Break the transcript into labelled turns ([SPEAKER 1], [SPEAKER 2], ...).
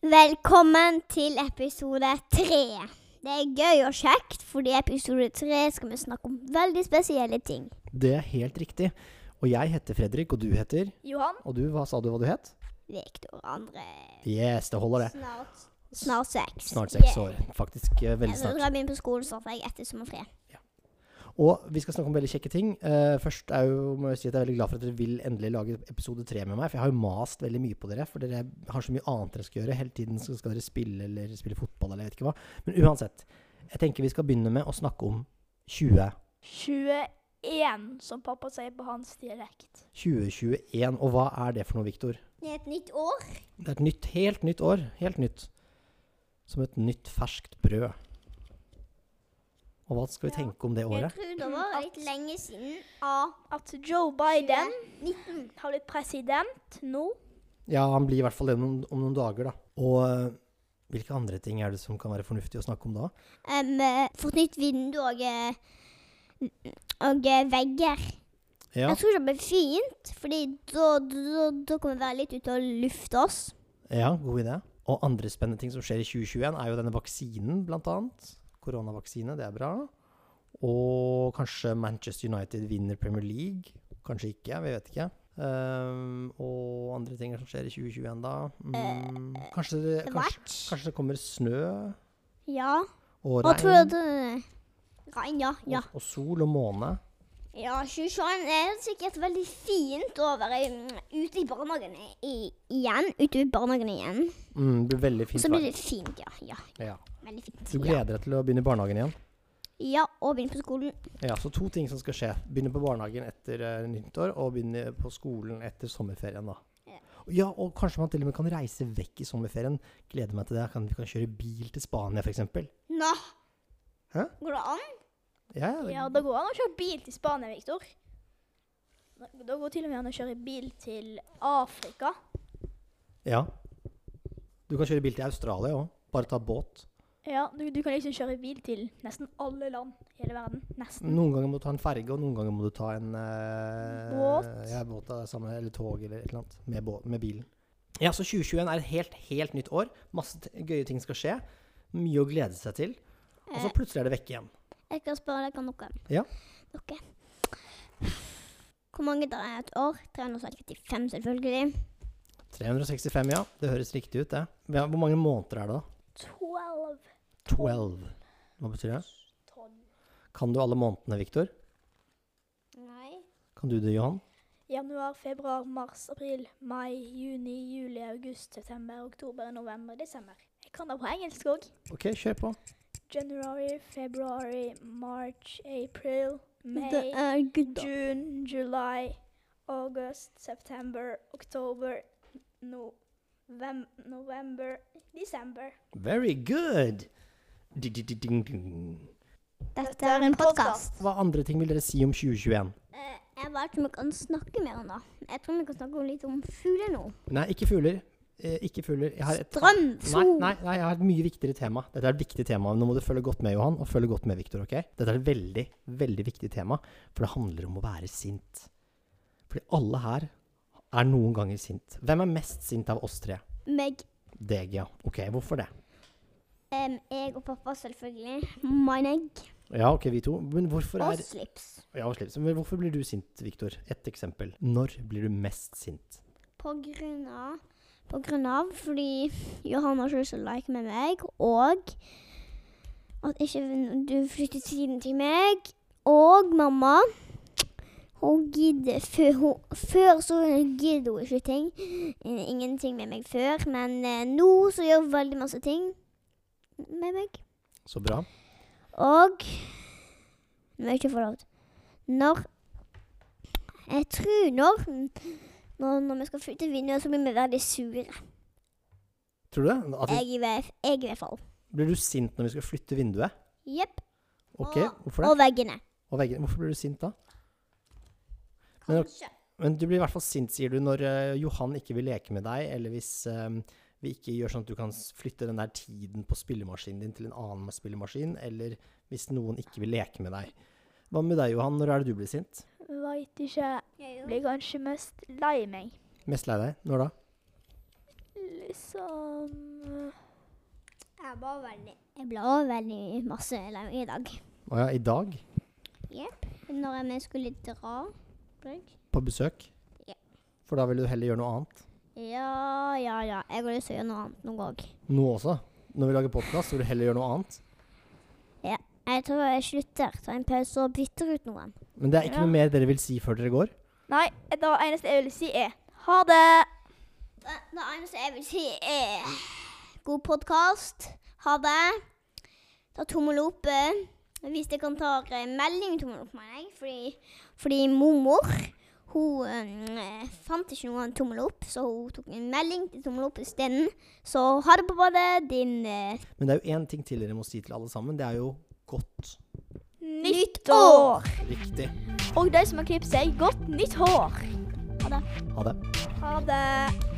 [SPEAKER 1] Velkommen til episode tre. Det er gøy og kjekt, fordi i episode tre skal vi snakke om veldig spesielle ting.
[SPEAKER 2] Det er helt riktig. Og jeg heter Fredrik, og du heter
[SPEAKER 1] Johan?
[SPEAKER 2] Og du, hva sa du hva du het?
[SPEAKER 1] Viktor andre
[SPEAKER 2] Yes, det holder, det.
[SPEAKER 1] Snart, snart seks.
[SPEAKER 2] Snart seks år. Faktisk eh,
[SPEAKER 1] Yeah.
[SPEAKER 2] veldig
[SPEAKER 1] Jeg
[SPEAKER 2] snart.
[SPEAKER 1] drar inn på skolen snart, for jeg er etter sommerfri.
[SPEAKER 2] Og vi skal snakke om veldig kjekke ting. Eh, først er jo, må jeg si at jeg er veldig glad for at dere vil endelig lage episode tre med meg. For jeg har jo mast veldig mye på dere. For dere har så mye annet dere skal gjøre. Hele tiden så skal dere spille eller spille fotball eller jeg vet ikke hva. Men uansett. Jeg tenker vi skal begynne med å snakke om 20.
[SPEAKER 3] 21, som pappa sier på hans dialekt.
[SPEAKER 2] 2021. Og hva er det for noe, Viktor?
[SPEAKER 1] Det er et nytt år.
[SPEAKER 2] Det er et nytt, helt nytt år. Helt nytt. Som et nytt ferskt brød. Og hva skal vi
[SPEAKER 3] Ja.
[SPEAKER 2] tenke om det året?
[SPEAKER 1] tror
[SPEAKER 3] det var litt
[SPEAKER 1] lenge siden. Ah,
[SPEAKER 3] At Joe Biden
[SPEAKER 1] 19.
[SPEAKER 3] har blitt president nå.
[SPEAKER 2] Ja, han blir i hvert fall det om, om noen dager, da. Og øh, hvilke andre ting er det som kan være fornuftig å snakke om da?
[SPEAKER 1] Um, eh, fått nytt vindu og, eh, og eh, vegger.
[SPEAKER 2] Ja.
[SPEAKER 1] Jeg tror det blir fint, fordi da, da, da kommer vi være litt ute og lufte oss.
[SPEAKER 2] ja, god idé. Og andre spennende ting som skjer i 2021, er jo denne vaksinen, blant annet. Koronavaksine, det er bra. Og kanskje Manchester United vinner Premier League. Kanskje ikke, vi vet ikke. Ehm, og andre ting som skjer i 2021, da. Mm,
[SPEAKER 1] Eh,
[SPEAKER 2] kanskje, det, kanskje,
[SPEAKER 1] Match.
[SPEAKER 2] kanskje det kommer snø
[SPEAKER 1] Ja.
[SPEAKER 2] og
[SPEAKER 1] Hva tror
[SPEAKER 2] regn.
[SPEAKER 1] du? Regn, ja. Ja,
[SPEAKER 2] Og, og sol og måne.
[SPEAKER 1] ja 2021 er sikkert veldig fint å være mm, ute i barnehagen i, igjen. Ute i barnehagen igjen.
[SPEAKER 2] Mm, det blir veldig
[SPEAKER 1] Og
[SPEAKER 2] fint
[SPEAKER 1] så
[SPEAKER 2] vær.
[SPEAKER 1] blir det fint, ja. Ja,
[SPEAKER 2] Ja.
[SPEAKER 1] veldig fint.
[SPEAKER 2] Du
[SPEAKER 1] Ja,
[SPEAKER 2] gleder deg til å begynne i barnehagen igjen?
[SPEAKER 1] ja og begynne på skolen.
[SPEAKER 2] Ja, så to ting som skal skje. Begynne på barnehagen etter eh, nyttår, og begynne på skolen etter sommerferien, da.
[SPEAKER 1] Ja.
[SPEAKER 2] Ja, og kanskje man til og med kan reise vekk i sommerferien. Gleder meg til det. Kan, vi kan kjøre bil til Spania, f.eks.
[SPEAKER 1] Nå!
[SPEAKER 2] Hæ?
[SPEAKER 1] Går det an?
[SPEAKER 2] Ja,
[SPEAKER 3] Ja, Da går han og kjører bil til Spania, Viktor. Da går til og med han og kjører bil til Afrika.
[SPEAKER 2] ja. Du kan kjøre bil til Australia òg. Bare ta båt.
[SPEAKER 3] Ja, du, du kan liksom kjøre bil til nesten alle land i hele verden.
[SPEAKER 1] Mm.
[SPEAKER 3] Nesten.
[SPEAKER 2] Noen ganger må du ta en ferge, og noen ganger må du ta en eh,
[SPEAKER 3] Båt.
[SPEAKER 2] Ja, båt er det samme, eller tog eller et eller annet. Med, bå- med bilen. Ja, så 2021 er et helt, helt nytt år. Masse t gøye ting skal skje. Mye å glede seg til. Og så plutselig er det vekke igjen.
[SPEAKER 1] Jeg kan spørre dere om noe.
[SPEAKER 2] Ja.
[SPEAKER 1] Dere. Hvor mange dager er et år? 365, selvfølgelig.
[SPEAKER 2] 365, ja. Det høres riktig ut, det. Ja, hvor mange måneder er det, da?
[SPEAKER 3] Tolv
[SPEAKER 2] Twelve. Hva betyr det?
[SPEAKER 3] tonn.
[SPEAKER 2] Kan du alle månedene, Viktor?
[SPEAKER 1] Nei.
[SPEAKER 2] Kan du det, Johan?
[SPEAKER 3] Januar, februar, mars, april, mai, juni, juli, august, september, oktober, november, desember. Jeg kan det på engelsk òg.
[SPEAKER 2] OK, kjør på.
[SPEAKER 3] January, February, March, April,
[SPEAKER 1] Det
[SPEAKER 3] May,
[SPEAKER 1] er gutta.
[SPEAKER 3] June, July, August, September, October, November, November December.
[SPEAKER 2] Very good! Di-di-di-ding-ding.
[SPEAKER 1] Dette er en podkast.
[SPEAKER 2] Hva andre ting vil dere si om 2021?
[SPEAKER 1] Jeg vet ikke om jeg kan snakke mer om det. Jeg tror vi kan snakke om litt om fugler nå.
[SPEAKER 2] Nei, ikke fugler. Eh, ikke fugler. Jeg har et
[SPEAKER 1] Strøm,
[SPEAKER 2] Nei,
[SPEAKER 1] sol.
[SPEAKER 2] nei, nei, jeg har et mye viktigere tema. Dette er et viktig tema. Nå må du følge godt med, Johan, og følge godt med, Viktor. ok? Dette er et veldig, veldig viktig tema, for det handler om å være sint. Fordi alle her er noen ganger sint. Hvem er mest sint av oss tre?
[SPEAKER 1] Meg,
[SPEAKER 2] Deg, ja. Ok, hvorfor det?
[SPEAKER 1] em, jeg og pappa selvfølgelig. Mine egg
[SPEAKER 2] Ja, ok, vi to. Men hvorfor
[SPEAKER 1] og
[SPEAKER 2] er
[SPEAKER 1] slips.
[SPEAKER 2] Ja, og slips. Men hvorfor blir du sint, Viktor? Et eksempel. Når blir du mest sint?
[SPEAKER 1] På grunn av På grunn av fordi Johan har ikke lyst til å like med meg, og at ikke du flyttet siden til meg, og mamma hun gidder før, hun, før så gidder hun ikke ting. eh, Ingenting med meg før, men eh, nå så gjør hun veldig masse ting med meg.
[SPEAKER 2] Så bra.
[SPEAKER 1] Og Nå må jeg ikke få lov til Når Jeg tror når Når, når vi skal flytte vinduet, så blir vi veldig sure.
[SPEAKER 2] Tror du det? At vi,
[SPEAKER 1] Jeg i, hvert- jeg i hvert fall.
[SPEAKER 2] blir du sint når vi skal flytte vinduet?
[SPEAKER 1] Jepp.
[SPEAKER 2] Ok,
[SPEAKER 1] Og-
[SPEAKER 2] hvorfor det?
[SPEAKER 1] Og veggene.
[SPEAKER 2] Og veggene. Hvorfor blir du sint da? Men- Men du blir i hvert fall sint, sier du, når eh, Johan ikke vil leke med deg, eller hvis eh, vi ikke gjør sånn at du kan s- flytte den der tiden på spillemaskinen din til en annen spillemaskin, eller hvis noen ikke vil leke med deg. Hva med deg, Johan? Når er det du blir sint?
[SPEAKER 3] Veit ikke. Blir kanskje mest lei meg.
[SPEAKER 2] Mest lei deg? Når da?
[SPEAKER 3] liksom
[SPEAKER 1] eh, Jeg ble veldig, jeg ble veldig masse lei meg i dag.
[SPEAKER 2] Å ja, i dag?
[SPEAKER 1] Jepp. Når jeg skulle dra Brygg.
[SPEAKER 2] På besøk?
[SPEAKER 1] Ja.
[SPEAKER 2] For da vil du heller gjøre noe annet?
[SPEAKER 1] Ja, ja, ja. Jeg har lyst til å gjøre noe annet noen gang.
[SPEAKER 2] Nå også? Når vi lager podkast, vil du heller gjøre noe annet?
[SPEAKER 1] Jeg tror jeg slutter, tar en pause og bytter ut noen.
[SPEAKER 2] Men det er ikke
[SPEAKER 3] Ja.
[SPEAKER 2] noe mer dere vil si før dere går?
[SPEAKER 3] Nei, det eneste jeg vil si, er ha det!
[SPEAKER 1] Det, det eneste jeg vil si, er god podkast. Ha det. Ta tommel opp. eh, Hvis dere kan ta eh, melding tommel opp, mener jeg. Fordi, fordi mormor hun eh, fant ikke noen tommel opp, så hun tok en melding til tommel opp isteden. Så ha det på badet, din eh,
[SPEAKER 2] Men det er jo én ting til dere må si til alle sammen. Det er jo godt.
[SPEAKER 1] Nytt
[SPEAKER 3] år!
[SPEAKER 2] Riktig.
[SPEAKER 3] Og de som har klippet seg, godt nytt hår!
[SPEAKER 2] Ha det.
[SPEAKER 3] Ha det!